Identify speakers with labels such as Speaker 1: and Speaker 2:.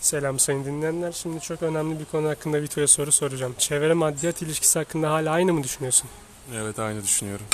Speaker 1: Selam sayın dinleyenler. Şimdi çok önemli bir konu hakkında Vito'ya soru soracağım. Çevre maddiyat ilişkisi hakkında hala aynı mı düşünüyorsun?
Speaker 2: Evet aynı düşünüyorum.